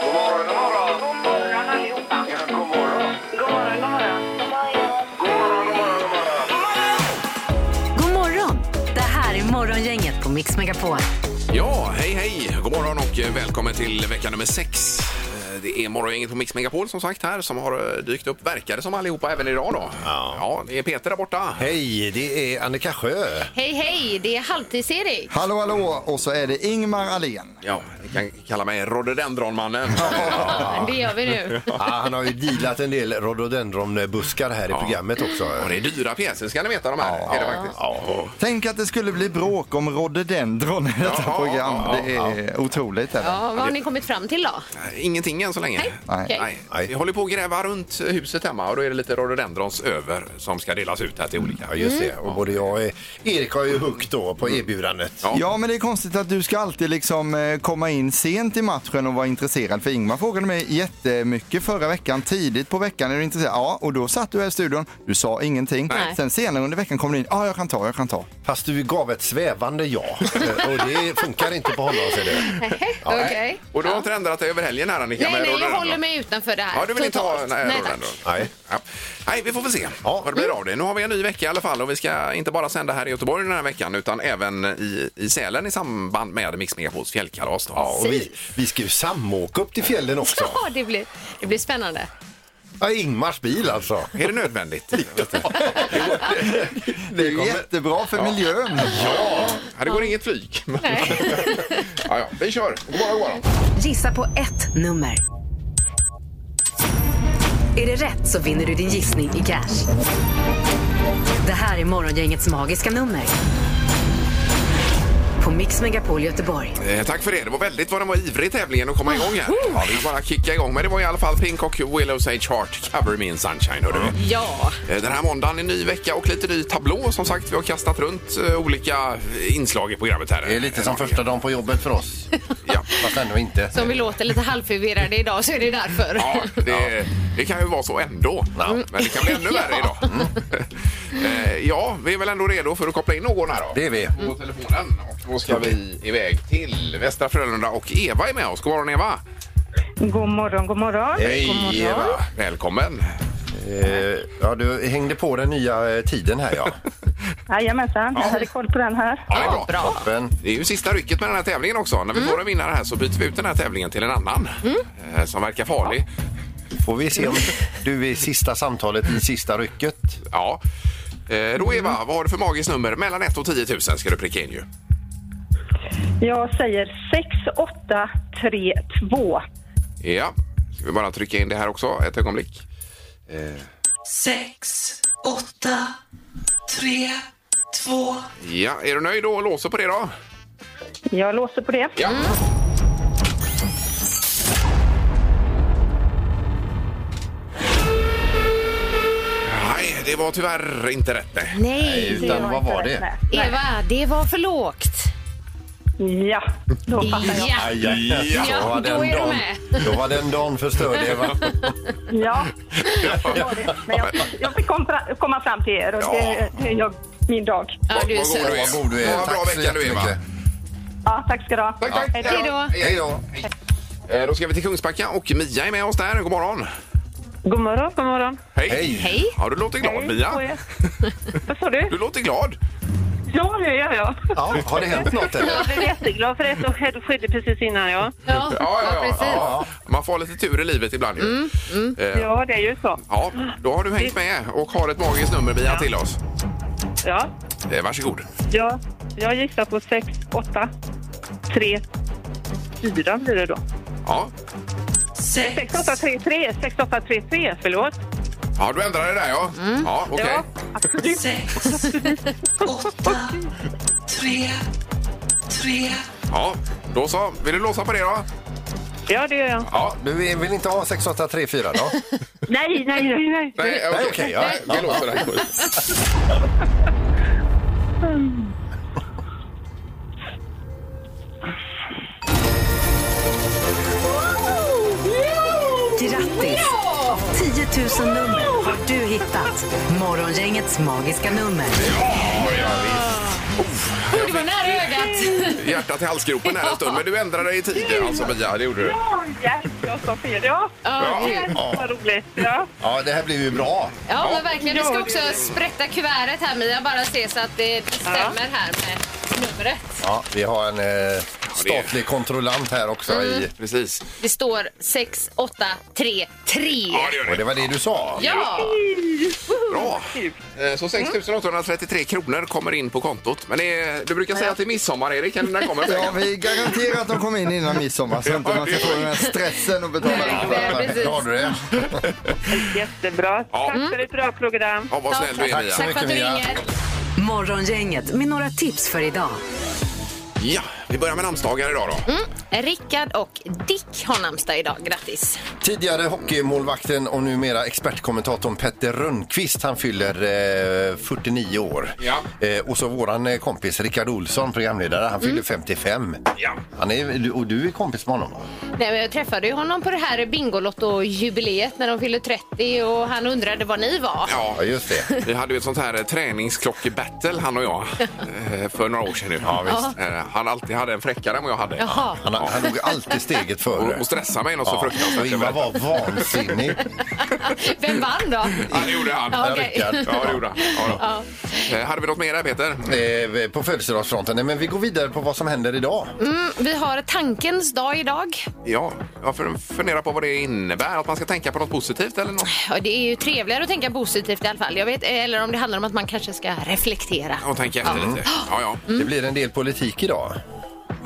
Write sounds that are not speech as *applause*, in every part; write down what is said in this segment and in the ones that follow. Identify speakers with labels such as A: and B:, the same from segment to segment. A: God morgon, god
B: God
A: morgon.
B: morgon allihopa.
A: Ja, god morgon.
B: God morgon, god morgon.
A: God morgon, god morgon, god morgon.
C: God morgon! Det här är Morgongänget på Mix Megapol.
D: Ja, hej hej! God morgon och eh, välkommen till vecka nummer sex. Eh, Det är morgongänget på Mix Megapol som sagt här som har eh, dykt upp, verkar det som allihopa, även idag då.
E: Ja.
D: ja det är Peter där borta.
E: Hej, det är Annika Sjö.
F: Hej, hej! Det är halvtids-Erik.
G: Hallå, hallå! Och så är det Ingmar Ahlén.
D: Ja, ni kan kalla mig rhododendronmannen.
F: Det gör
D: *laughs*
F: vi nu.
E: Ah, han har ju dealat en del rhododendronbuskar här i programmet också.
D: Och det är dyra pjäser ska ni veta de här. Är det faktiskt.
E: Ja.
G: Tänk att det skulle bli bråk om rhododendron i detta
D: Ja,
G: program.
D: ja,
G: det är otroligt. Är det?
F: Ja, vad har ni kommit fram till då?
D: Eh, Ingenting än så länge.
G: Nej.
F: Okej.
D: Nej.
E: Nej.
D: Vi håller på att gräva runt eh, huset hemma och då är det lite rhododendrons över som ska delas ut här till olika.
E: ja, just det. Och både jag och Erik har ju huggt då på erbjudandet.
D: Ja.
G: Ja, men det är konstigt att du ska alltid liksom eh, komma in sent i matchen och vara intresserad. För Ingmar frågade mig jättemycket förra veckan. Tidigt på veckan är du intresserad. Ja, och då satt du här i studion. Du sa ingenting.
F: Nej.
G: Sen senare under veckan kom du in. Ja, jag kan ta, jag kan ta.
E: Fast du gav ett svävande ja. Eh, och det funkar inte på honom, ser du.
F: Okej.
D: Och du har inte ändrat dig över helgen här Annika?
F: Nej,
D: med
F: nej, jag
D: rhododendron.
F: håller mig utanför det här.
D: Ja, du vill inte ha
F: Totalt.
D: nej,
F: nej, tack. *laughs*
D: rhododendron?
E: Nej.
D: Ja. Nej, vi får väl se
E: Ja.
D: vad det blir av det. Nu har vi en ny vecka i alla fall och vi ska inte bara sända här i Göteborg den här veckan utan även i, i Sälen i samband med Mix Megapols fjällkalas. Då.
E: Ja, och vi, vi ska ju samåka upp till fjällen också.
F: Ja, det blir, det blir spännande.
E: Ja, Ingmars bil alltså.
D: Är det nödvändigt?
G: Det är ju jättebra för miljön.
D: Ja, det går inget flyg.
F: Nej.
D: *laughs* Ja, ja, vi kör. God morgon, god morgon.
C: Gissa på ett nummer. Är det rätt så vinner du din gissning i cash. Det här är Morgongängets magiska nummer. På Mix Megapol Göteborg.
D: Eh, tack för det. Det var väldigt vad den var ivrig tävlingen att komma igång här. Ja, vi bara kicka igång. Men det var i alla fall Pink och Willow Sage Heart, Cover Me in Sunshine. Hörde du.
F: *laughs* Ja,
D: Eh, Den här måndagen är ny vecka och lite ny tablå. Som sagt, vi har kastat runt eh, olika inslag i programmet här.
E: Det är lite som första dagen på jobbet för oss.
D: *laughs* Ja.
E: Fast ändå inte.
F: som vi låter lite halvförvirrade idag så är det därför.
D: Ja, det, det kan ju vara så ändå. Mm. Men det kan bli ännu värre idag.
E: Mm.
D: *laughs* Eh, ja, vi är väl ändå redo för att koppla in någon här då.
E: Det är vi.
D: På telefonen. Och då ska vi iväg till Västra Frölunda och Eva är med oss. God morgon Eva!
B: God morgon, god morgon.
E: Hej Eva!
D: Välkommen!
E: Eh, ja, du hängde på den nya eh, tiden här ja.
B: Jajamensan, jag hade koll på den här.
D: Ja, det är bra.
F: Bra.
E: Toppen.
D: Det är ju sista rycket med den här tävlingen också. När vi får en vinnare här så byter vi ut den här tävlingen till en annan eh, som verkar farlig.
E: Får vi se om du är sista samtalet i sista rycket.
D: Ja. Eh, Då Eva, vad har du för magiskt nummer? Mellan 1 och 10 000 ska du pricka in ju.
B: Jag säger 6832.
D: Ja, ska vi bara trycka in det här också ett ögonblick. Eh.
H: sex, åtta, tre, två.
D: Ja, är du nöjd då och låser på det då?
B: Jag låser på det.
D: Ja. Nej, det var tyvärr inte rätt nej.
F: Nej,
E: Utan vad
B: inte
E: var
B: rätt
E: det?
B: med.
F: Eva, det var för lågt.
B: Ja, då fattar jag.
F: Ja,
E: Aj, aj, aj.
D: Ja,
E: Så var
F: då
E: den
F: är du
E: dagen-
F: med.
E: Då var den dagen förstörd *laughs* Eva.
B: Ja, det var det. Men jag, jag fick kom fra- komma fram till er och det, det är jag, min dag.
F: ja du är
D: Vad god du
F: söt.
D: är.
E: Vad god du är.
D: Ha en bra
E: Tack så
D: vecka du Eva.
E: jättemycket.
B: Ja, tack ska du ha.
D: Tack, tack.
B: Hej då.
F: Hej då.
E: Hej då.
D: Eh, Då ska vi till Kungsbacka och Mia är med oss där. God morgon!
B: God morgon, god morgon.
D: Hej!
E: Hej.
F: Hej.
D: Ja, du låter glad
B: på
D: Mia.
B: er. Vad sa du?
D: Du låter glad.
B: Ja, det gör jag.
E: Ja, har det hänt något eller?
B: Jag blev jätteglad för det som skedde precis innan, ja. Mm,
F: Ja,
D: Ja, ja, ja,
F: precis.
D: ja. Man får ha lite tur i livet ibland ju. Eh,
B: Ja, det är ju så.
D: Ja, då har du hängt med och har ett magiskt nummer Mia till oss.
B: Ja,
D: Eh, Varsågod.
B: ja jag gissar på 6, 8, 3, 4 blir det då.
D: Ja.
B: 6, 8, 3, 3. 6, 8, 3, 3. Förlåt.
D: ja, du ändrade det där ja. Ja, okej.
B: Mm. Ja, absolut.
H: Åtta, tre, tre.
D: Ja, då så. Vill du låsa på det då?
B: Ja, det gör jag.
D: Ja.
E: Du vill inte ha 6834 då?
B: Nej, nej, nej. nej.
D: Nej, okej.
E: Nej, okej, ja.
D: Nej, Vi låser det. här.
C: Grattis! 10 000 nummer har du hittat. Morgongängets magiska nummer.
F: Oh, det var nära ögat.
D: Hjärtat i halsgropen där en stund, men du ändrade dig i tid alltså Mia, det gjorde du.
B: Ja, yes, jag sa fel. Ja,
F: Ja, gud.
B: yes, vad roligt. Ja.
E: *laughs* Ja, det här blev ju bra.
F: ja, men verkligen. Du ska också sprätta kuvertet här Mia, bara se så att det det stämmer här med numret.
E: Ja, Mm. vi har en eh, statlig kontrollant här också. I,
D: Precis.
F: Det står 6833.
D: Ja, det gör
E: och det
D: det.
E: var det du sa.
F: Ja,
D: Bra! Eh, Så 6 833 kronor kommer in på kontot. Men det är, du brukar säga att det är midsommar, Erik, eller när kommer
G: Ja,
D: pengarna?
G: vi garanterar att de kommer in innan midsommar så att man inte får den här stressen och betala
F: Nej,
G: allt.
F: nej, precis.
E: Då har du det.
B: Jättebra.
D: Ja.
B: Tack för ett bra program.
D: Ja, vad snäll du är,
E: Tack så
D: Mia.
F: tack för att du
E: Mia.
F: ringer.
C: Morgongänget med några tips för idag.
D: Ja, vi börjar med namnsdagar idag då.
F: Rickard och Dick har namnsdag idag. Grattis!
E: Tidigare hockeymålvakten och numera expertkommentatorn Petter Rönnqvist. Han fyller eh, 49 år.
D: Ja.
E: Eh, och så våran eh, kompis Rickard Olsson, programledare, han fyller 55.
D: Mm. Ja.
E: Han är, du- och du är kompis med honom? va?
F: Nej, men jag träffade ju honom på det här Bingolotto-jubileet när de fyllde 30 och han undrade vad ni var.
D: Ja,
E: Ja, just det.
D: Vi hade ju ett sånt här eh, träningsklockebattle han och jag eh, för några år sedan nu. Ja, visst. Han alltid hade en fräckare än vad jag hade.
F: Jaha. *laughs*
E: Han, han låg alltid steget
D: Och,
E: före.
D: och stressade mig något så
E: och
D: fruktansvärt.
E: Ingvar var vansinnig.
F: Vem vann då?
D: Ja, det gjorde han.
F: Ja, okej.
E: Rickard.
D: Ja, det gjorde han. Ja, då.
F: Ja.
D: Eh, Hade vi något mer där, Peter?
E: Eh, på födelsedagsfronten. Nej, Men vi går vidare på vad som händer idag.
F: Mm, vi har tankens dag idag.
D: Ja, jag fun- funderar på vad det innebär. Att man ska tänka på något positivt eller något.
F: Ja, det är ju trevligare att tänka positivt i alla fall. Jag vet, eller om det handlar om att man kanske ska reflektera.
D: Och tänka efter lite. Ja, ja.
E: Det blir en del politik idag.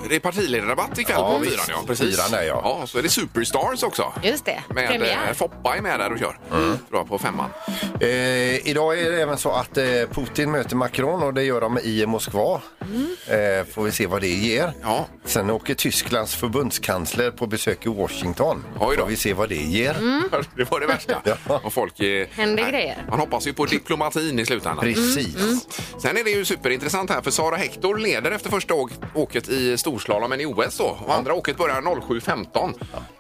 D: Det är partiledardebatt ikväll
E: Ja,
D: på
E: visst.
D: fyran. Ja, precis.
E: Fyran där, ja.
D: ja, så är det Superstars också.
F: Just det,
D: Med,
F: premiär.
D: eh, Foppa är med där och kör. Tror jag, på femman. *laughs*
E: Eh, idag är det även så att eh, Putin möter Macron och det gör de i Moskva. Eh, får vi se vad det ger.
D: Ja.
E: Sen åker Tysklands förbundskansler på besök i Washington.
D: Oj då.
E: Får vi se vad det ger.
D: Det var det värsta.
E: Ja.
D: Och folk är,
F: Händer grejer.
D: Man hoppas ju på diplomatin i slutändan.
E: Precis.
D: Sen är det ju superintressant här för Sara Hector leder efter första å- åket i storslalomen i OS då. Och andra åket börjar 07.15 eh, tror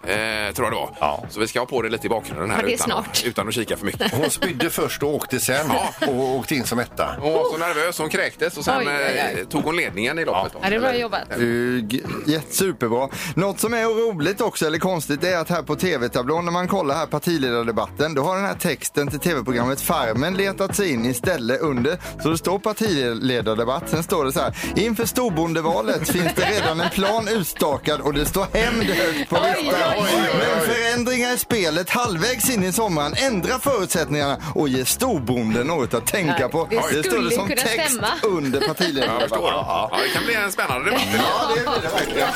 D: jag det var.
E: Ja.
D: Så vi ska ha på det lite i bakgrunden här
F: Ja, det är
D: utan,
F: snart.
D: utan att kika för
F: *laughs*
D: mycket.
E: Hon spydde först och åkte sen och åkte in som etta.
D: Hon var så nervös, hon kräktes och sen
F: Oj, oj, oj.
D: eh, tog hon ledningen i loppet.
F: Ja, det är bra jobbat.
G: Uh, superbra. Något som är roligt också, eller konstigt, är att här på tv-tablån när man kollar här partiledardebatten, då har den här texten till tv-programmet Farmen letat sig in istället under. Så det står partiledardebatt, sen står det så här. Inför storbondevalet finns det redan en plan utstakad och det står hämnd högt på listan. Men förändringar i spelet halvvägs in i sommaren ändrar förutsättningarna och ger storbonden något att tänka på.
F: Det
G: står
F: skulle
G: det som
F: kunna
G: text
F: stämma.
G: under
D: Jag
F: *laughs*
D: förstår.
G: partiledardebatten.
D: Ja, det kan bli en spännande
F: Mm.
D: debatt.
G: Ja, det är det verkligen.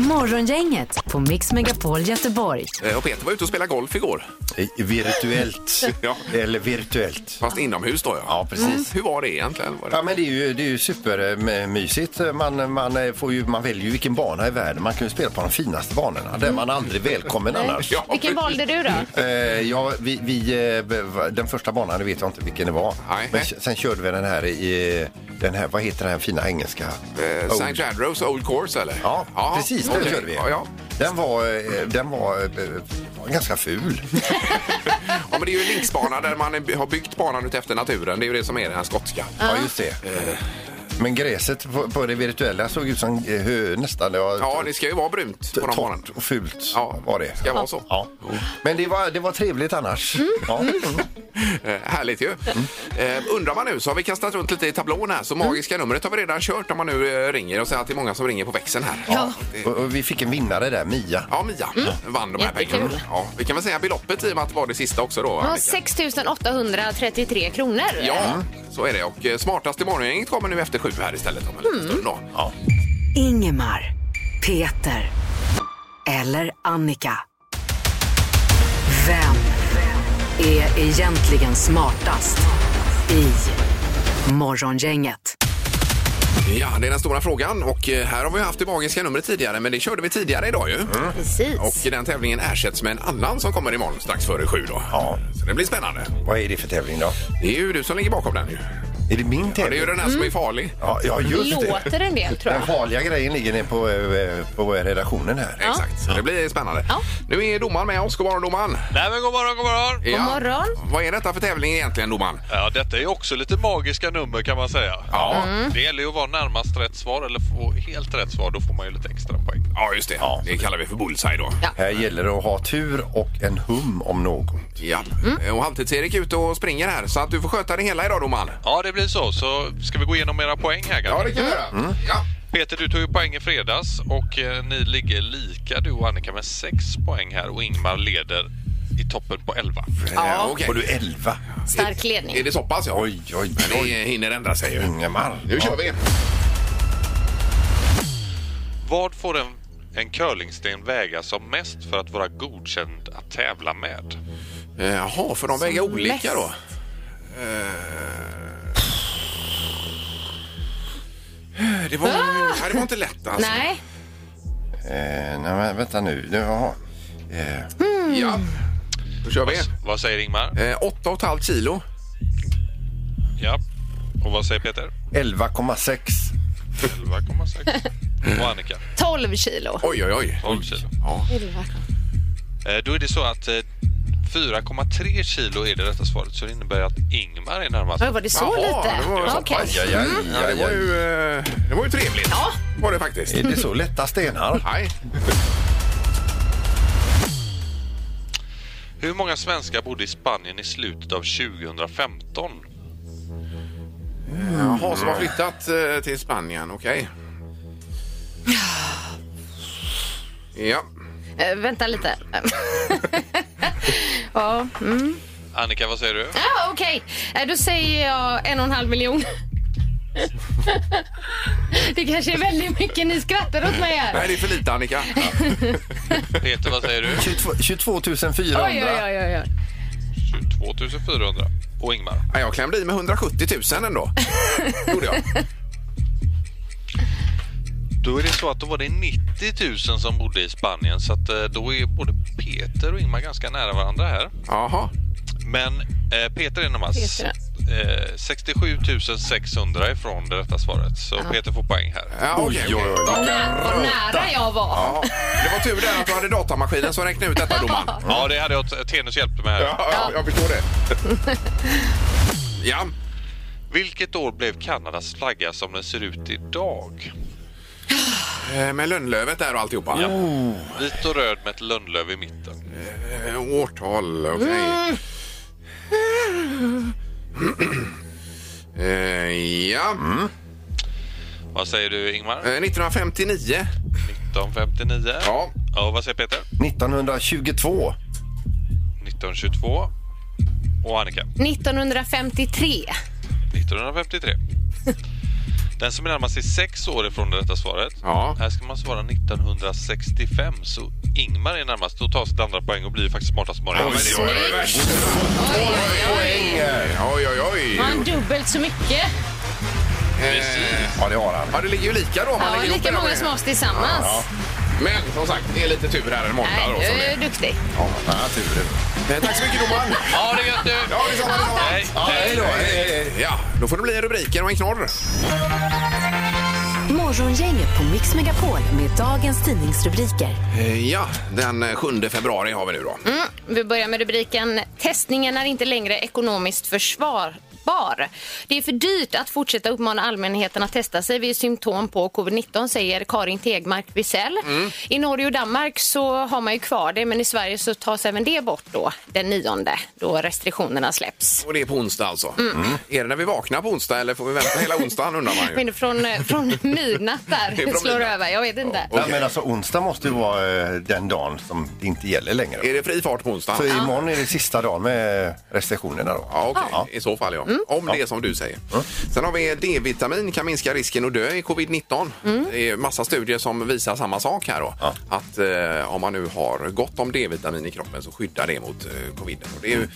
C: Morgongänget på Mix Megapol Göteborg.
D: Eh, Och Peter var ute och spelade golf igår,
E: Eh, Virtuellt.
D: Ja.
E: Eller virtuellt.
D: fast inomhus då. Mm.
E: Ja, precis.
D: Hur var det egentligen? Var det...
E: Ja, men det är ju, det är ju supermysigt. Man, man, eh, får ju, man väljer ju vilken bana i världen. Man kan ju spela på de finaste banorna, där man aldrig är välkommen annars.
D: Ja,
F: Vilken
D: precis.
F: valde du då?
E: Eh, ja, vi, vi, eh, b- va- den första banan det vet jag inte vilken det var.
D: Nej.
E: Men k- sen körde vi den här i den här, vad heter den här fina engelska?
D: Eh,
E: Old-
D: St. Jadros Old Course eller?
E: Ja, precis den
D: okej.
E: körde vi.
D: Ja, ja.
E: Den var, eh, den var, eh, var ganska ful.
D: Ja, men det är ju en linksbana där man är- har byggt banan ut efter naturen. Det är ju det som är den här skotska.
E: ja, just det. Men gräset på, på det virtuella såg ut som eh, hö nästan. Det var
D: Ja, det ska ju vara brunt på de banorna.
E: torrt och fult.
D: Ja,
E: var det.
D: ska vara så.
E: Ja. Men det var, det var trevligt annars. Ja.
D: *laughs* Mm. Eh, härligt ju. Eh, undrar man nu så har vi kastat runt lite i tablån här. Så
E: Mm.
D: magiska numret har vi redan kört om man nu eh, ringer och säger att det är många som ringer på växeln här. Ja,
E: Och, och vi fick en vinnare där, Mia.
D: ja Mia vann de här
F: Mm. Jättekul.
D: pengarna. Ja, vi kan väl säga beloppet i och med att det var det sista också då.
F: Ja,
D: Annika.
F: 6 833 kronor.
D: Ja, så är det. Och eh, smartast i morgongänget kommer nu efter sju här istället om en
F: Mm.
D: liten stund då.
C: Ingemar, Peter eller Annika. Vem är egentligen smartast i Morgongänget?
D: Ja, det är den stora frågan och eh, här har vi haft det magiska numret tidigare men det körde vi tidigare idag ju.
F: Precis.
D: Och den tävlingen ersätts med en annan som kommer imorgon strax före sju då.
E: Ja.
D: Så det blir spännande.
E: Vad är det för tävling då?
D: Det är ju du som ligger bakom den ju.
E: Är det min
D: Ja, det är ju
E: tävling?
D: den här
F: Mm.
D: som är farlig.
E: Ja, ja, just det.
F: Låter en del tror
E: Den
F: jag.
E: farliga grejen ligger ner på, eh, på redaktionen här.
F: Ja.
D: Exakt, så det blir spännande.
F: Ja.
D: Nu är domaren med oss. God morgon domaren!
I: Nej men god morgon, god morgon.
D: Ja.
F: morgon.
D: Vad är detta för tävling egentligen domaren?
I: Ja, detta är ju också lite magiska nummer kan man säga.
D: Ja,
F: Mm.
I: Det gäller ju att vara närmast rätt svar eller få helt rätt svar. Då får man ju lite extra poäng.
D: ja just det. Det kallar vi för bullseye då.
F: Ja.
E: Här gäller det att ha tur och en hum om något.
D: Ja.
F: Mm.
D: Och Halvtids-Erik är ute och springer här så att du får sköta det hela idag domaren.
I: Ja, det blir så. Så ska vi gå igenom era poäng här grabbar?
D: kan vi göra. Mm. Ja.
I: Peter, du tog ju poäng i fredags och eh, ni ligger lika du och Annika med sex poäng här och Ingmar leder i toppen på 11.
D: Ja, Eh, okej.
E: Och du 11.
F: Stark ledning.
D: Är det så pass? Ja.
E: Oj, oj,
D: Men det
E: oj.
D: hinner ändra sig ju.
E: Ingemar.
D: Nu kör vi!
I: Vad får en, en curlingsten väga som mest för att vara godkänd att tävla med?
D: Eh, Jaha, för de väger olika då? Eh, Det var, ja, det var inte lätt alltså.
F: Ah! Nej,
E: Eh, nej, men vänta nu. Nu, Jaha. Eh,
D: Ja.
F: Mm.
D: Då kör vi.
I: Vad säger Ingmar?
D: Eh, åtta och ett halvt kilo.
I: Ja. Och vad säger Peter?
E: 11,6.
I: 11,6. Och Annika?
F: 12 kilo.
D: Oj, oj, oj.
I: 12 kilo. Eh, Då är det så att eh, 4,3 kilo är det rätta svaret så det innebär att Ingmar är närmast.
F: Oj, var det så
D: Jaha,
F: lite?
D: det var så
F: Okej. Mm.
E: Aj, aj, aj,
D: Ja, det,
E: aj,
D: var
E: aj.
D: ju, eh, det var ju trevligt. Ja. var det faktiskt.
E: Är det så lätta stenar?
D: Nej.
I: Hur många svenskar bodde i Spanien i slutet av 2015?
D: Jaha, som har flyttat eh, till Spanien. Okej. Ja.
F: Eh,
D: *laughs*
F: vänta lite. ja, mm.
I: Annika, vad säger du?
F: ah, okej. Eh, Då säger jag en och en halv
D: *laughs*
F: miljon. det kanske är väldigt mycket ni skrattar åt mig här.
D: Nej, det är för lite Annika.
I: Peter, vad säger du?
E: 22, 22 400.
F: Oj, oj, oj, oj, oj.
I: 22 400. Och Ingmar?
D: Ja, jag klämde i med 170 000 ändå. Gjorde jag.
I: Då är det så att då var det 90 000 som bodde i Spanien så att eh, då är både Peter och Ingmar ganska nära varandra här.
D: Jaha.
I: Men eh, Peter är närmast.
F: Peter.
I: Eh, 67 600 ifrån det rätta svaret så Peter får poäng här.
D: Ja, okej, okej.
E: Oj, oj, oj.
F: Vad nä- Vad nära jag var.
D: Ja, det var tur där att du hade datamaskinen som räknade ut detta domaren.
I: Ja, det hade jag Tenus hjälpte mig här.
D: ja, jag förstår det. Ja.
I: Vilket år blev Kanadas flagga som den ser ut idag?
D: Eh, Med lönnlövet där och alltihopa. Ja.
I: Vit och röd med ett lönnlöv i mitten.
D: Eh, Årtal, okej. Eh, ja,
I: Vad säger du Ingmar?
D: Eh, 1959.
I: 1959?
D: Ja.
I: ja vad säger Peter?
E: 1922.
I: 1922? Och Annika?
F: 1953.
I: 1953. Den som är närmast är sex år ifrån det rätta svaret.
D: Ja.
I: Här ska man svara 1965, så Ingmar är närmast. Då tar sitt andra poäng och blir faktiskt smartast morgon.
D: men det var ju värst. Oj, oj, oj. oj.
F: Har han dubbelt så mycket?
D: Eh,
E: Ja, det har han.
D: Ja, det ligger ju lika då. om man
F: Ja,
D: lägger ihop
F: lika
D: det
F: många
D: med-
F: som oss tillsammans.
D: Men som sagt, det är lite tur här en måndag.
F: Nej,
D: Då,
F: du
D: som
F: är
D: är.
F: duktig.
E: Ja, han har tur.
D: Eh, Tack så mycket domaren.
I: Ja, det är gött nu!
D: Ja, detsamma, detsamma.
I: Hej,
D: Ja,
I: hej.
D: hej då, hej, hej. Ja, då får det bli rubriken och en knorr.
C: Morgongänget på Mix Megapol med dagens tidningsrubriker.
D: Eh, Ja, den eh, 7 februari har vi nu då.
F: Vi börjar med rubriken Testningen är inte längre ekonomiskt försvarbar. Det är för dyrt att fortsätta uppmana allmänheten att testa sig vid symptom på covid-19 säger Karin Tegmark Wisell.
D: Mm.
F: I Norge och Danmark så har man ju kvar det men i Sverige så tas även det bort då den nionde då restriktionerna släpps.
D: Och det är på onsdag alltså.
F: Mm.
D: Är det när vi vaknar på onsdag eller får vi vänta hela onsdagen undrar man
F: Men
D: ju.
F: från, eh,
D: *laughs*
F: från midnatt
D: Det är
F: där
D: från
F: slår
D: midnatt.
F: över, jag vet inte.
E: Nej, men alltså, onsdag måste ju vara eh, den dagen som det inte gäller längre.
D: Är det fri fart på
E: Så
D: onsdagen?
E: imorgon är det sista dagen med eh, restriktionerna då.
D: Ja, okej. I så fall ja.
F: Mm.
D: Om det är som du säger. Sen har vi D-vitamin kan minska risken att dö i covid-19.
F: Mm.
D: Det är massa studier som visar samma sak här då.
E: Ja.
D: Att eh, om man nu har gott om D-vitamin i kroppen så skyddar det mot eh, covid. Och det är ju,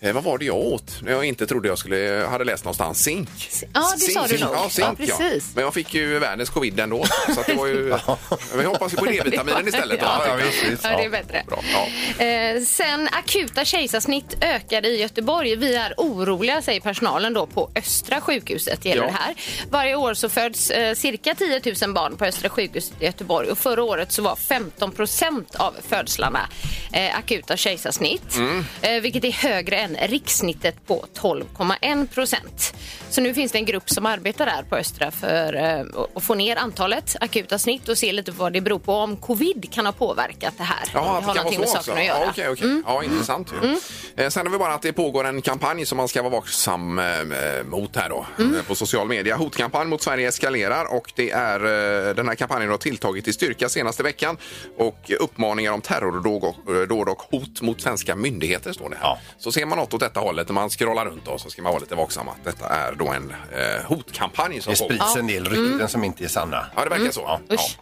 D: eh, vad var det jag åt när jag inte trodde jag skulle, eh, hade läst någonstans? Zink.
F: Ja, det sa
D: Zink,
F: du
D: zink.
F: nog.
D: Ja, zink,
F: Ja, precis.
D: Men jag fick ju världens covid ändå. Så att det var
F: *laughs*
D: ju... Vi hoppas ju på D-vitaminen istället. då.
F: Ja,
E: ja, visst, visst.
F: Ja, det är bättre.
D: Bra. Ja.
F: Eh, sen akuta kejsarsnitt ökade i Göteborg. Vi är oroliga, säger personalen då på Östra sjukhuset gäller
D: Ja.
F: det här. Varje år så föds eh, cirka 10 000 barn på Östra sjukhuset i Göteborg och förra året så var 15 procent av födslarna eh, akuta kejsarsnitt, eh, vilket är högre än rikssnittet på 12,1 procent. Så nu finns det en grupp som arbetar där på Östra för eh, att få ner antalet akuta snitt och se lite vad det beror på om covid kan ha påverkat det här. om
D: Jaha,
F: det har någonting med saken att göra. Mm.
D: Ja, okej, okej. ja intressant ju. Eh, Sen har vi bara att det pågår en kampanj som man ska vara vaksam eh, mot här då, eh,
F: Mm.
D: på social media. Hotkampanj mot Sverige eskalerar och det är, eh, den här kampanjen har tilltagit i styrka senaste veckan och uppmaningar om terrordåd och, eh, dåd och hot mot svenska myndigheter står det här.
E: Ja.
D: Så ser man något åt detta hållet när man scrollar runt då så ska man vara lite vaksam att detta är då en eh, hotkampanj som
E: Det
D: pågår.
E: sprids en del rykten
F: Mm.
E: som inte är sanna.
D: Ja, det verkar så. Ja.
F: Usch.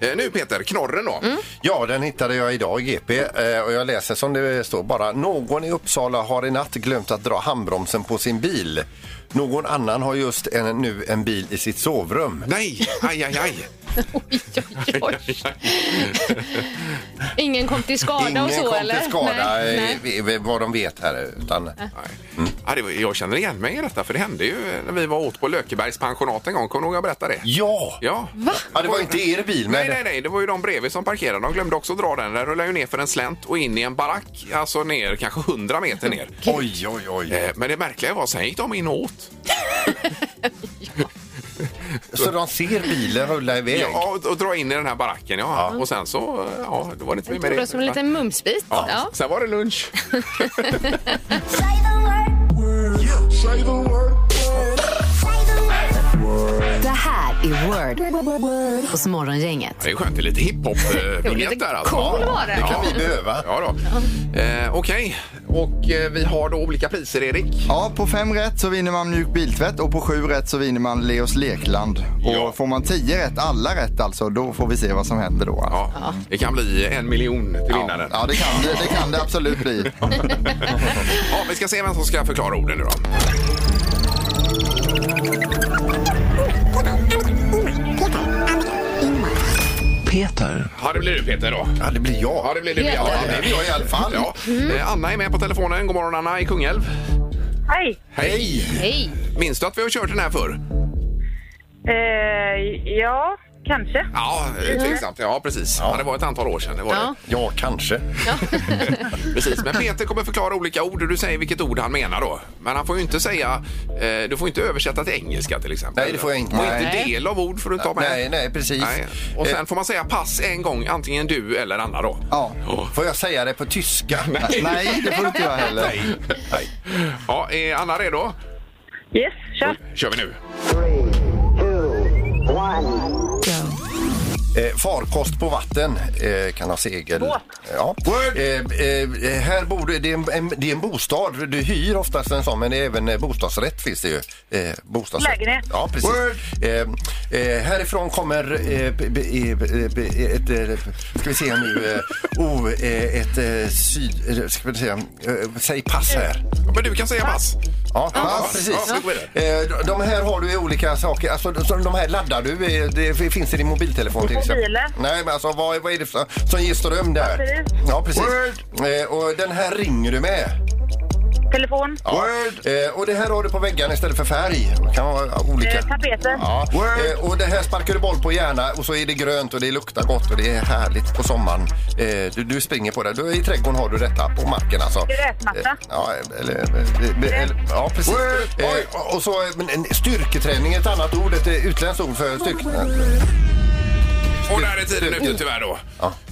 D: Eh, Nu Peter, knorren då.
E: Ja, den hittade jag idag i GP eh, och jag läser som det står bara. Någon i Uppsala har i natt glömt att dra handbromsen på sin bil. Någon annan har just en, nu en bil i sitt sovrum.
D: Nej, aj, aj, aj.
F: Oj, *laughs* oj,
D: *laughs*
F: oj. Ingen kom till skada
E: Ingen
F: och så
E: kom
F: eller?
E: till skada
F: Nej, Eh.
E: eh,
F: nej.
E: eh, vad de vet här. Utan,
D: Mm. Ja, det var, jag känner igen mig i detta, för det hände ju när vi var åt på Lökebergs pensionat en gång. Kommer du ihåg jag berättade det?
E: Ja!
D: Ja.
E: Ja, det var inte er bil, men...
D: Nej, nej, nej, det var ju de bredvid som parkerade. De glömde också dra den. Den rullade ju ner för en slänt och in i en barack, alltså ner kanske 100 meter ner.
E: Oj, oj, oj.
D: Eh, Men det märkliga var, sen gick de in och åt.
E: Så de ser bilen rulla iväg?
D: Ja, och, och dra in i den här baracken, ja. Och sen så, eh, ja, då var det inte mer
F: Jag tog det som en liten mumsbit.
D: Ja.
F: Ja. Ja.
D: Sen var det lunch.
C: Det här är Word hos Morgongänget.
D: Det är skönt, det är lite
F: var lite
D: hiphop-vinjett där alltså.
F: cool
D: Ja,
F: var det.
E: Det kan vi behöva.
D: Ja då. Eh, Okej, och eh, vi har då olika priser, Erik.
G: Ja, på fem rätt så vinner man mjuk biltvätt och på sju rätt så vinner man Leos Lekland.
D: Ja.
G: Och får man tio rätt, alla rätt alltså, då får vi se vad som händer då.
D: Ja, Det kan bli en miljon till vinnaren. Ja.
G: Ja, det kan det, det, kan det absolut
D: *laughs*
G: bli.
D: vi ska se vem som ska förklara orden nu då.
H: Peter.
D: Ja, det blir du Peter då.
E: Ja, det blir jag.
D: Ja, det blir du.
F: Peter.
D: Ja, det blir jag i alla fall. Ja. Eh, Anna är med på telefonen. God morgon Anna i Kungälv.
B: Hej.
D: Hej!
F: Hej.
D: Minns du att vi har kört den här förr?
B: Eh, ja, kanske.
D: Ja, eh, tveksamt. Ja, precis. Ja. det var ett antal år sedan. Det var
F: Ja.
D: det.
E: Ja, kanske.
D: Precis. Men Peter kommer förklara olika ord och du säger vilket ord han menar då. Men han får ju inte säga... Eh, du får inte översätta till engelska till exempel.
E: Nej, det får jag inte.
D: Och inte
F: Nej.
D: del av ord får du ta med.
E: Nej, Eh. nej, precis.
D: Nej. Och sen får man säga pass en gång, antingen du eller Anna då.
G: Ja.
D: Oh.
E: Får jag säga det på tyska?
G: Nej, det får du inte göra heller.
D: Nej. Ja, är Anna redo?
B: Yes, kör.
D: kör vi nu.
E: Eh, farkost på vatten eh, kan ha segel.
B: Båt.
E: Ja. Eh, eh, här bor du, det, är en, en, det är en bostad. Du hyr oftast en sån, men det är även eh, bostadsrätt finns det ju. Eh, bostadsrätt.
B: Lägenhet.
E: Ja, precis. Eh, eh, härifrån kommer eh, b, b, eh, b, b, ett, eh, ska vi se nu, eh, oh, eh, ett eh, syd, eh, ska vi se, eh, säg pass här.
D: Ja, Men du kan säga pass.
E: Ja, ja, precis.
D: Ja, så går vi
E: Eh, De här har du i olika saker. Alltså, de- de här laddar du. i- Det finns i din mobiltelefon till exempel.
B: Mobilen.
E: Nej, men alltså vad, vad är det som, som ger ström där?
B: Batteri.
E: Ja, precis. Eh, Och den här ringer du med.
B: Telefon.
E: Ja. Eh, Och det här har du på väggen istället för färg. Det kan vara olika.
B: Eh, tapeter.
E: Ja. Eh, Och det här sparkar du boll på gärna och så är det grönt och det luktar gott och det är härligt på sommaren. Eh, Du, du springer på det. Du, I trädgården har du detta på marken alltså.
B: Gräsmatta.
E: Eh, Ja, eller, eller, eller, ja precis. Eh, och- Och så eh, men, en styrketräning, ett annat ord, ett eh, utländskt ord för Eh, styrketräning.
D: Och där är tiden ute tyvärr då.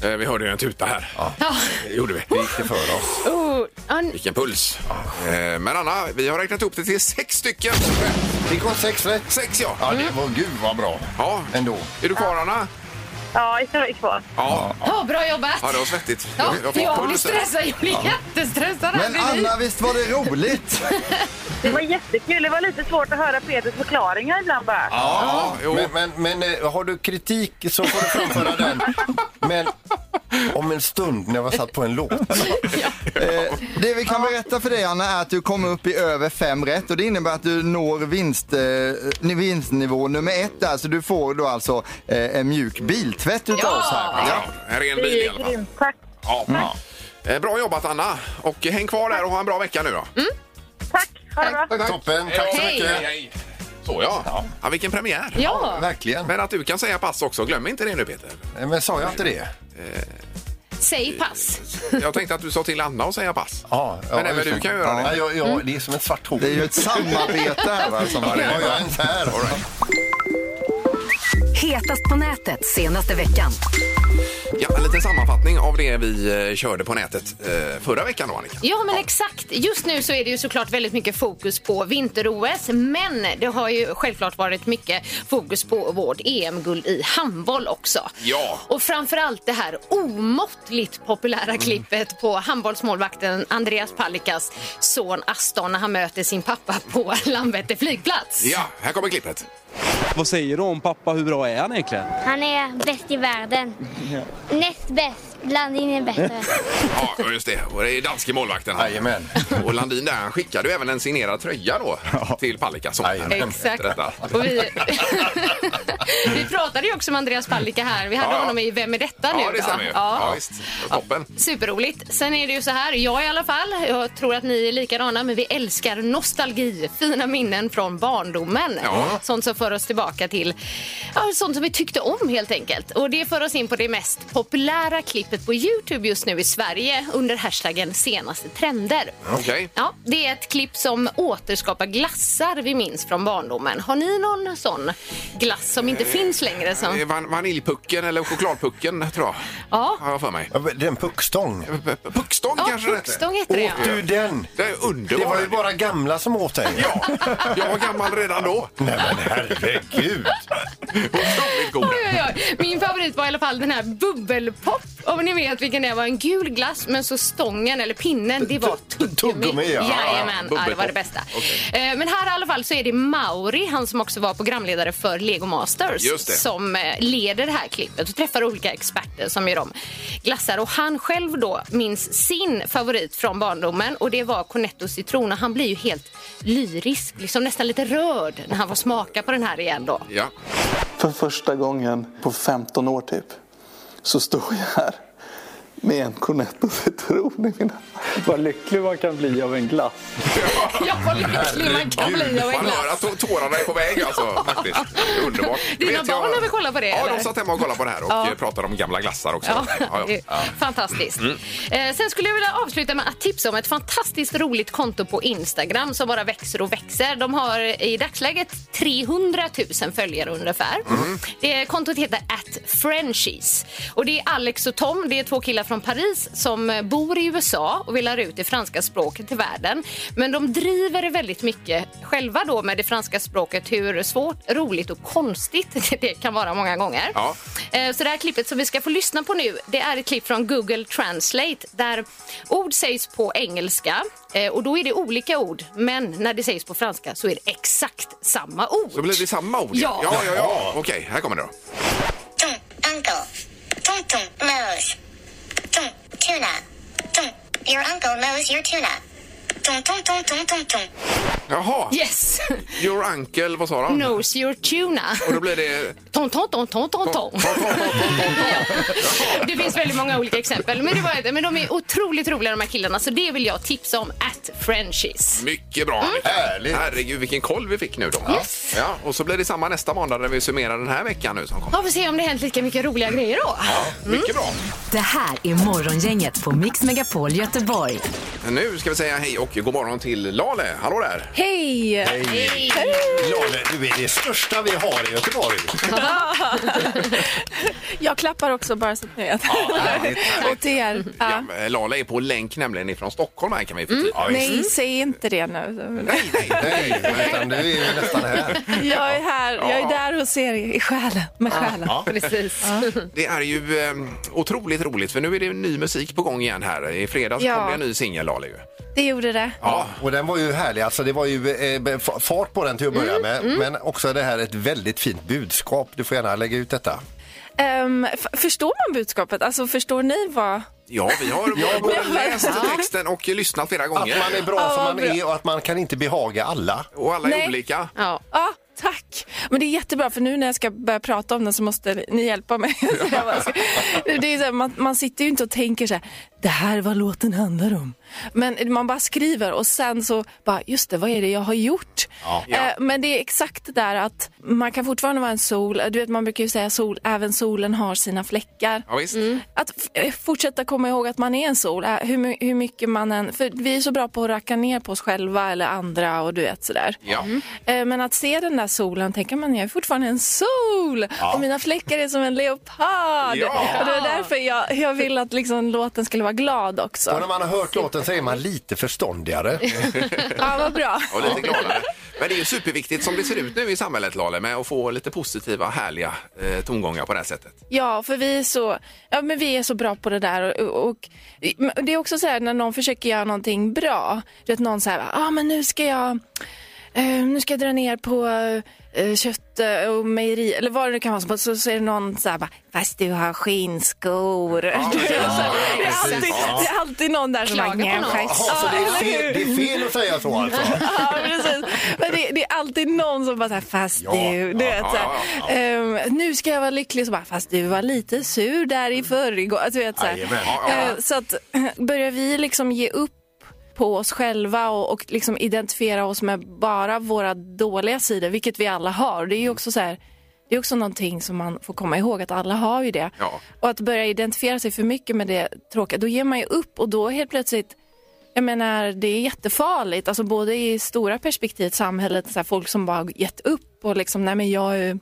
D: Eh, Vi hörde ju en tuta här.
F: Ja.
D: Det gjorde vi.
E: Det för oss.
F: Oh, ja, n-
D: Vilken puls. Eh, Men Anna, vi har räknat upp det till sex stycken.
E: Det går sex rätt.
D: Sex ja.
E: Ja, det var gud vad bra.
D: Ja.
E: Ändå.
D: Är du kvar Anna?
B: Ja, jag tror jag är kvar.
D: Ja.
F: ja, bra jobbat.
D: Ja, det var svettigt.
F: Ja,
D: Jag fick
F: jag blir
D: puls där.
F: stressad. Jag blir jättestressad. här
G: Men
F: bredvid.
G: Anna, visst var det roligt?
B: Det var jättekul. Det var lite svårt att höra Peters förklaringar ibland bara.
D: Ja, jo.
E: Men, men, men eh, har du kritik så får du framföra den. Men om en stund när jag satt på en låt.
G: Eh, det vi kan berätta för dig Anna är att du kommer upp i över fem rätt och det innebär att du når vinst, eh, ni- vinstnivå nummer ett där. Så du får då alltså eh, en mjuk biltvätt utav
F: Ja!
G: oss här.
D: Ja, en ren
B: Det
D: bil i
B: är
D: alla fall.
B: grymt. Tack.
F: Mm.
D: Ja. Eh, Bra jobbat Anna. Och häng kvar där och ha en bra vecka nu då.
B: Tack. Ha det bra.
E: Toppen, tack så
F: Hej.
E: mycket.
D: Så ja. ja. vilken premiär.
F: Ja,
E: Verkligen.
D: Men att du kan säga pass också, glöm inte det nu Peter.
E: Eh, Men, men sa jag inte det?
F: säg pass.
D: Jag tänkte att du sa till Anna att säga pass.
E: Ja, ja,
D: Men även
E: ursäkta.
D: du kan göra
E: Ja,
D: det.
E: jag, jag, Det är som ett svart hål.
G: Det är ju ett samarbete här va, som
E: Ja,
G: har
E: det har jag inte här.
C: Hetast på nätet senaste veckan.
D: Ja, en liten sammanfattning av det vi eh, körde på nätet eh, förra veckan då Annika.
F: Ja, men exakt. Just nu så är det ju såklart väldigt mycket fokus på vinter-OS, men det har ju självklart varit mycket fokus på vårt EM-guld i handboll också.
D: Ja. Mm.
F: Och framförallt det här omåttligt populära klippet på handbollsmålvakten Andreas Palikas son Aston när han möter sin pappa på *laughs* Landvetter flygplats.
D: Ja, här kommer klippet.
J: Vad säger du om pappa? Hur bra är han egentligen?
K: Han är bäst i världen. Näst bäst. Landin är bättre.
D: Ja, just det. Och det är danske målvakten. här.
E: Jajamän.
D: *laughs* Och Landin där, han skickade ju även en signerad tröja då till Palicka. som-
E: Jajamän.
F: Exakt.
D: Detta.
F: Och vi, *laughs* vi pratade ju också med Andreas Palicka här. Vi hade
D: Ja, ja.
F: honom i Vem är detta nu?
D: Ja, det
F: då?
D: stämmer ju.
F: Ja.
D: Ja, visst. Toppen.
F: Superroligt. Sen är det ju så här, jag i alla fall, jag tror att ni är likadana, men vi älskar nostalgi, fina minnen från barndomen.
D: Ja.
F: Sånt som för oss tillbaka till ja, sånt som vi tyckte om helt enkelt. Och det för oss in på det mest populära klippet på Youtube just nu i Sverige under hashtaggen senaste trender.
D: Okej.
F: Ja, det är ett klipp som återskapar glassar vi minns från barndomen. Har ni någon sån glass som
D: Eh,
F: inte finns längre?
D: Det är
F: Som...
D: van- Vaniljpucken eller chokladpucken tror jag.
F: Ja.
D: Har jag för mig.
E: Ja, men Den puckstång.
D: P- p- Puckstång
F: Ja,
D: kanske
F: Puckstång
D: det
F: heter det.
E: Åt
F: ja.
E: du den?
D: Det är
E: Det var
D: underbart.
E: ju bara gamla som åt den.
D: Ja, jag var gammal redan då.
E: Nej men herregud.
D: Otroligt god.
F: Oj, oj, oj. Min favorit var i alla fall den här bubbelpop. Om ni vet vilken det var. En gul glass, men så stången eller pinnen, det var
E: Tu- tu-
F: tuggummi.
E: tuggummi, ja.
F: Jajamän, ja, det var det
D: Bubbelpop.
F: bästa. Eh, Men här i alla fall så är det Mauri, han som också var programledare för Lego Masters,
D: Just det.
F: som eh, leder det här klippet och träffar olika experter som gör om glassar. Och han själv då minns sin favorit från barndomen och det var Cornetto citron och han blir ju helt lyrisk, liksom nästan lite rörd när han får smaka på den här igen då.
D: Ja.
J: För första gången på 15 år typ så står jag här med en Cornetto citron i mina Vad lycklig man kan bli av en glass.
F: Ja, vad lycklig man kan bli av en
D: Man hör
F: glass.
D: att tå- tårarna är på väg alltså. Faktiskt. Det är underbart.
F: Dina
D: Vet jag-
F: barn har väl kollat på det,
D: Ja,
F: eller?
D: de satt hemma och kollade på det här och
F: Ja.
D: eh, pratade om gamla glassar också.
F: Ja,
D: Ja,
F: *laughs* det
D: ja. Mm.
F: är Fantastiskt. Eh, sen skulle jag vilja avsluta med att tipsa om ett fantastiskt roligt konto på Instagram som bara växer och växer. De har i dagsläget 300 000 följare ungefär.
D: Mm.
F: Det kontot heter at Frenchies. Och det är Alex och Tom, det är två killar från Paris som eh, bor i USA och vill lära ut det franska språket till världen. Men de driver det väldigt mycket själva då med det franska språket, hur svårt, roligt och konstigt *laughs* det kan vara många gånger.
D: Ja.
F: Eh, Så det här klippet som vi ska få lyssna på nu, det är ett klipp från Google Translate där ord sägs på engelska eh, och då är det olika ord, men när det sägs på franska så är det exakt samma ord.
D: Så blir det samma ord?
F: Ja.
D: ja, ja, ja. Okej, här kommer det då.
K: Ton uncle. Tonton Mose. Ton tuna. Ton. Your uncle Mose your tuna. Ton ton ton ton ton ton.
D: Jaha.
F: Yes! *laughs*
D: Your uncle, vad sa de?
F: Knows your tuna.
D: Och då blir det...
F: Ton, ton, ton, ton, ton, ton. *laughs* Det finns väldigt många olika exempel. Men, det var, ett- men de är otroligt roliga de här killarna så det vill jag tipsa om. At Frenchies.
D: Mycket bra, Annika.
E: Härligt.
D: Herregud, vilken koll vi fick nu då.
F: Mm. Yes.
D: Ja, och så blir det samma nästa måndag när vi summerar den här veckan nu som kommer.
F: Ja, vi får se om det hänt lika mycket roliga grejer då. Mm.
D: Mycket bra.
C: Det här är Morgongänget på Mix Megapol Göteborg.
D: Nu ska vi säga hej och god morgon till Lale. Hallå där!
L: Hej!
E: Lale, du är det största vi har i Göteborg.
L: Jag klappar också bara så att ni vet. Åt er. Ja. Mm.
D: Ja, Lale är på länk nämligen ifrån Stockholm här kan vi förtydliga.
L: Nej, säg inte det nu.
E: *laughs* Nej, utan du är ju nästan här.
L: Jag är här, jag är där hos er i själen, med själen.
F: Precis.
D: Det är ju eh, otroligt roligt för nu är det ny musik på gång igen här. I fredags
L: Ja.
D: kom det en ny singel Lale ju.
L: Det gjorde det.
E: Ja, och den var ju härlig. Alltså, det var ju eh, f- fart på den till att börja
D: Mm,
E: med. Men också det här är ett väldigt fint budskap. Du får gärna lägga ut detta.
L: Ehm, f- förstår man budskapet? Alltså förstår ni vad...
D: Ja, vi har vi har både
L: Ja.
D: läst texten och lyssnat flera
E: Att
D: gånger.
E: man är bra som man är och att man kan inte behaga alla.
D: Och alla är
L: Nej.
D: olika.
F: Ja.
L: Ja, tack. Men det är jättebra för nu när jag ska börja
M: *laughs*
L: prata om den så måste ni hjälpa mig. Så jag bara ska- det är så här, man, man sitter ju inte och tänker så här,
M: det här är vad låten handlar om. Men man bara skriver och sen så bara, just det, vad är det jag har gjort?
N: Ja.
M: Eh, Men det är exakt det där att man kan fortfarande vara en sol. Du vet, man brukar ju säga sol, även solen har sina fläckar.
D: Ja, visst.
M: Att f- eh, fortsätta komma ihåg att man är en sol, eh, hur, my- hur mycket man än... För vi är så bra på att racka ner på oss själva eller andra och du vet sådär.
D: Ja.
M: Eh, Men att se den där solen tänker man, jag är fortfarande en sol
N: Ja.
M: och mina fläckar är som en leopard.
E: Ja.
M: Och det är därför jag, jag vill att liksom låten skulle vara glad också.
E: Och när man har hört låten så är man lite förståndigare.
M: Ja, vad bra.
D: Och lite gladare. Men det är ju superviktigt som det ser ut nu i samhället, Lale, med att få lite positiva, härliga eh, tongångar på det här sättet.
M: Ja, för vi är så, ja, men vi är så bra på det där. Och, och, men det är också så här när någon försöker göra någonting bra. Du vet någon så här, ah, men nu ska jag eh, nu ska jag dra ner på eh, kött eh, och mejeri eller vad det nu kan vara. Så, så är det någon så här, bara, fast du har skinnskor. Du vet, så här, det, är alltid, det är alltid någon där som bara,
E: Klagar på någon.
M: "Nja, schysst."
E: Jaha, så det är
M: Ja, eller
E: fel-
M: hur?
E: det är fel att säga så alltså?
M: ja, precis. Men det, det är alltid någon som bara så här, fast
E: Ja.
M: du, du
E: Ja,
M: vet,
E: ja,
M: så här,
E: ja,
M: ehm, nu ska jag vara lycklig. Så bara, fast du var lite sur där i förrgår. Alltså, du vet, så, här.
N: Jajamän. Ja, ja.
M: Eh, så att *laughs* börjar vi liksom ge upp på oss själva och, och liksom identifiera oss med bara våra dåliga sidor, vilket vi alla har. Det är ju också så här, det är också någonting som man får komma ihåg att alla har ju det.
D: Ja.
M: Och att börja identifiera sig för mycket med det tråkiga, då ger man ju upp och då helt plötsligt jag menar, det är jättefarligt, alltså både i stora perspektivet, samhället, så här, folk som bara gett upp och liksom, nej men jag är,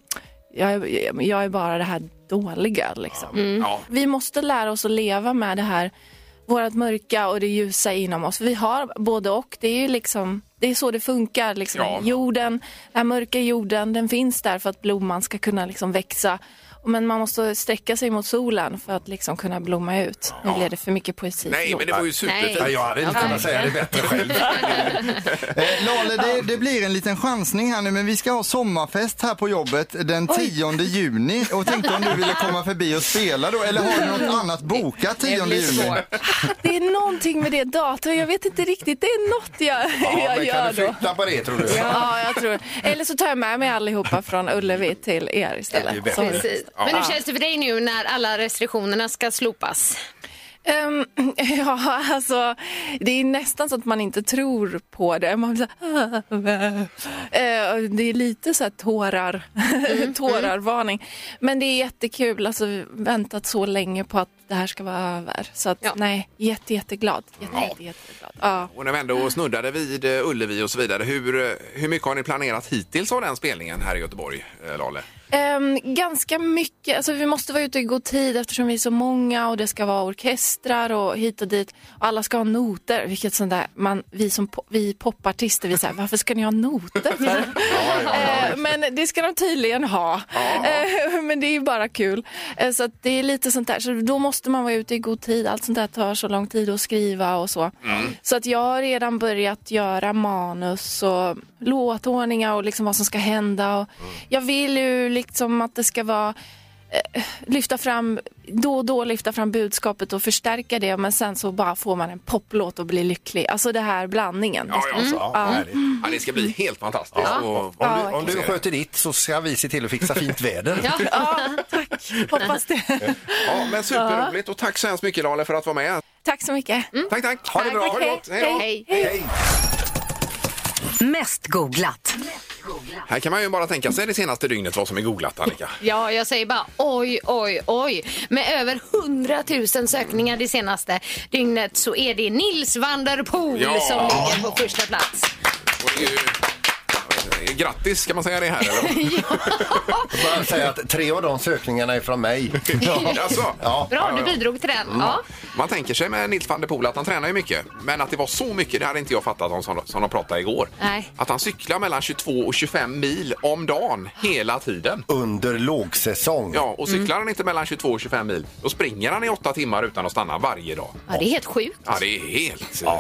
M: jag är, jag är bara det här dåliga liksom.
N: Mm. Ja.
M: Vi måste lära oss att leva med det här, vårt mörka och det ljusa inom oss. Vi har både och, det är ju liksom, det är så det funkar liksom.
N: Ja.
M: Jorden, den här mörka jorden, den finns där för att blomman ska kunna liksom växa. Men man måste sträcka sig mot solen för att liksom kunna blomma ut. Nu blev det för mycket poesi.
D: Nej, men det var ju superfint.
E: Ja, jag hade inte kunnat säga det bättre själv.
G: Eh, Lale, det, det blir en liten chansning här nu, men vi ska ha sommarfest här på jobbet den 10 juni. Och tänkte om
E: *laughs*
G: du ville komma förbi och spela då, eller har du något annat bokat 10 juni?
M: Det är någonting med det datumet, jag vet inte riktigt. Det är något jag, jag
E: men
M: gör
E: kan du
M: då.
E: flytta på det tror du?
M: Ja, jag tror Eller så tar jag med mig allihopa från Ullevi till er
E: Det är ju
M: istället.
E: bättre. Precis.
M: Ja.
F: Men hur känns det för dig nu när alla restriktionerna ska slopas?
M: Ehm, ja, alltså, det är nästan så att man inte tror på det. Man blir så, här, "Ah, Eh, och det är lite så här tårar,
E: Mm,
M: tårarvarning. Men det är jättekul. Alltså, vi har väntat så länge på att det här ska vara över. Så att, nej, jätte, jätteglad. Jätte, jätte, jätteglad. Ja.
D: Och när vi ändå snuddade vid eh, Ullevi och så vidare, hur, eh, hur mycket har ni planerat hittills av den spelningen här i Göteborg, eh, Lale?
M: Ehm, ganska mycket. Alltså, vi måste vara ute i god tid eftersom vi är så många och det ska vara orkestrar och hit och dit. Och alla ska ha noter, vilket sånt där, man, vi som po- vi popartister, vi säger varför ska ni ha noter för? Ehm, men det ska de tydligen ha. Ehm, men det är ju bara kul. Ehm, så att det är lite sånt där, så då måste man vara ute i god tid. Allt sånt där tar så lång tid att skriva och så. Så att jag har redan börjat göra manus och låtordningar och liksom vad som ska hända. Och Jag vill ju liksom att det ska vara eh, lyfta fram, då och då lyfta fram budskapet och förstärka det men sen så bara får man en poplåt och blir lycklig. Alltså det här blandningen.
D: Ja, ja,
M: Mm.
D: så.
M: Ja.
D: Ja, härligt. ja, det ska bli helt fantastiskt.
E: Ja.
D: Och-
E: Om, du, om du sköter ditt så ska vi se till att fixa fint väder.
M: *laughs* Ja, tack. Hoppas det. *laughs*
D: Ja, men superroligt och tack så hemskt mycket Lale för att vara med.
M: Tack så mycket.
D: Tack, Mm. tack. Ha det bra. Ha det gott. Hej då.
C: Mest googlat.
D: Här kan man ju bara tänka sig det senaste dygnet vad som är googlat, Annika.
F: Ja, jag säger bara oj, oj, oj. Med över 100 000 sökningar det senaste dygnet så är det Nils van der Poel
D: Ja.
F: som ligger på första plats.
D: Och det är ju... Grattis, ska man säga det här *laughs* eller?
E: Jag bara säga att tre av de sökningarna är från mig.
D: Alltså.
E: Ja.
F: Bra, du bidrog till den.
D: Mm.
F: Ja.
D: Man tänker sig med Nils van der Poel att han tränar ju mycket. Men att det var så mycket, det hade inte jag fattat om som, som de pratade igår.
F: Nej.
D: Att han cyklar mellan 22 och 25 mil om dagen hela tiden.
E: Under lågsäsong.
D: Ja, och cyklar han inte mellan 22 och 25 mil, då springer han i åtta timmar utan att stanna varje dag.
F: Ja, det är helt sjukt.
D: Ja, det är helt... eh,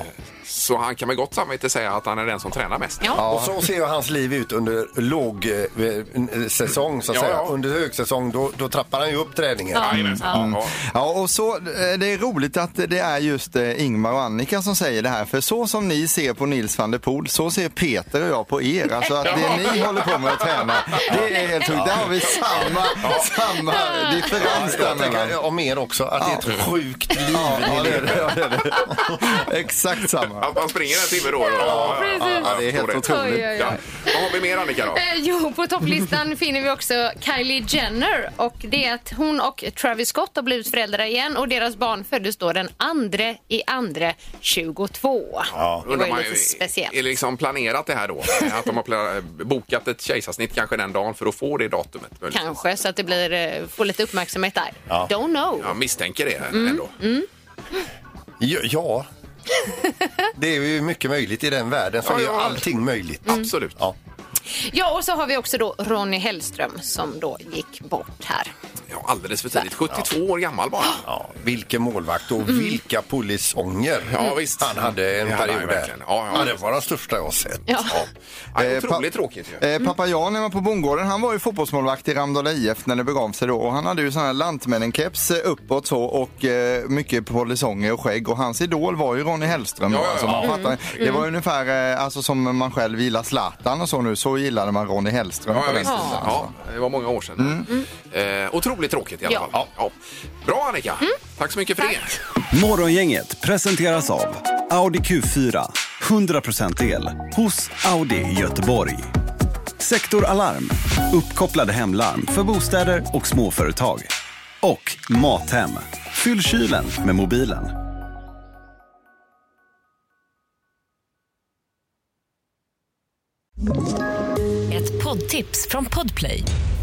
D: Så han kan med gott samvete säga att han är den som tränar mest.
E: Ja. Och så ser ju hans liv ut under lågsäsong, så att
D: Ja,
E: säga.
D: ja.
E: Under högsäsong, då, då trappar han ju upp träningen.
D: Ja, jajamensan.
G: Mm. Ja, och så, eh, det är roligt att det är just eh, Ingmar och Annika som säger det här. För så som ni ser på Nils van der Poel, så ser Peter och jag på er. Alltså att det ni håller på med att träna, det är helt sjukt. Där har vi samma, samma differens där
E: Jag
G: mellan.
E: tänker om er också, att det är ett sjukt liv.
G: Ja, det är det, ja, det är det. Exakt samma.
D: Att man springer en timme då. då.
F: Ja, precis.
G: Ja, det är helt
D: jag förstår
F: otroligt. Oj, oj, oj.
D: Ja. Vad har vi mer Annika då?
F: Eh, jo, på topplistan finner vi också Kylie Jenner. Och det är att hon och Travis Scott har blivit föräldrar igen och deras barn föddes då den andre i andre 22. Det var
D: Undrar
F: ju
D: man
F: lite speciellt.
D: Är det liksom planerat det här då? Att de har pla- bokat ett kejsarsnitt kanske den dagen för att få det datumet? möjligtvis.
F: Kanske så att det blir, eh, får lite uppmärksamhet där.
D: Ja.
F: Don't know.
D: Jag misstänker det ändå.
F: Mm.
E: Ja, ja. det är ju mycket möjligt i den världen som
F: Ja, ja.
E: gör allting möjligt.
D: Mm. Absolut.
E: Ja.
F: Ja, och så har vi också då Ronny Hellström som då gick bort här.
D: Ja, alldeles för tidigt. 72 år gammal bara.
E: Ja, vilken målvakt
D: Mm.
E: och vilka polisånger
D: Ja, visst.
E: han hade en
D: Det hade han
E: period där.
D: verkligen. Ja, ja.
E: det var den största jag har sett.
F: Ja.
D: Ja, otroligt tråkigt ju.
G: Eh, pappa Jan när man på bondgården, han var ju fotbollsmålvakt i Ramdala IF när det begav sig då och han hade ju sån här Lantmännen-keps eh, uppåt så och eh, mycket polisonger och skägg och hans idol var ju Ronny Hellström.
D: Ja, ja,
G: alltså,
D: ja.
G: man
D: Mm.
G: fattar, Det var ungefär eh, alltså, som man själv gillar Zlatan och så nu, så gillade man Ronny Hellström
D: Ja,
G: på
D: ja,
G: den
D: visst.
G: tiden.
D: ja, det var många år sedan.
E: Mm.
D: Eh, otroligt tråkigt i alla
F: Ja. Mm.
D: fall. Ja. Bra Annika! Tack så mycket för det.
N: Morgongänget presenteras av Audi Q4. 100% el hos Audi Göteborg. Sektor Alarm. Uppkopplade hemlarm för bostäder och småföretag. Och Mathem. Fyll kylen med mobilen.
O: Ett poddtips från Podplay.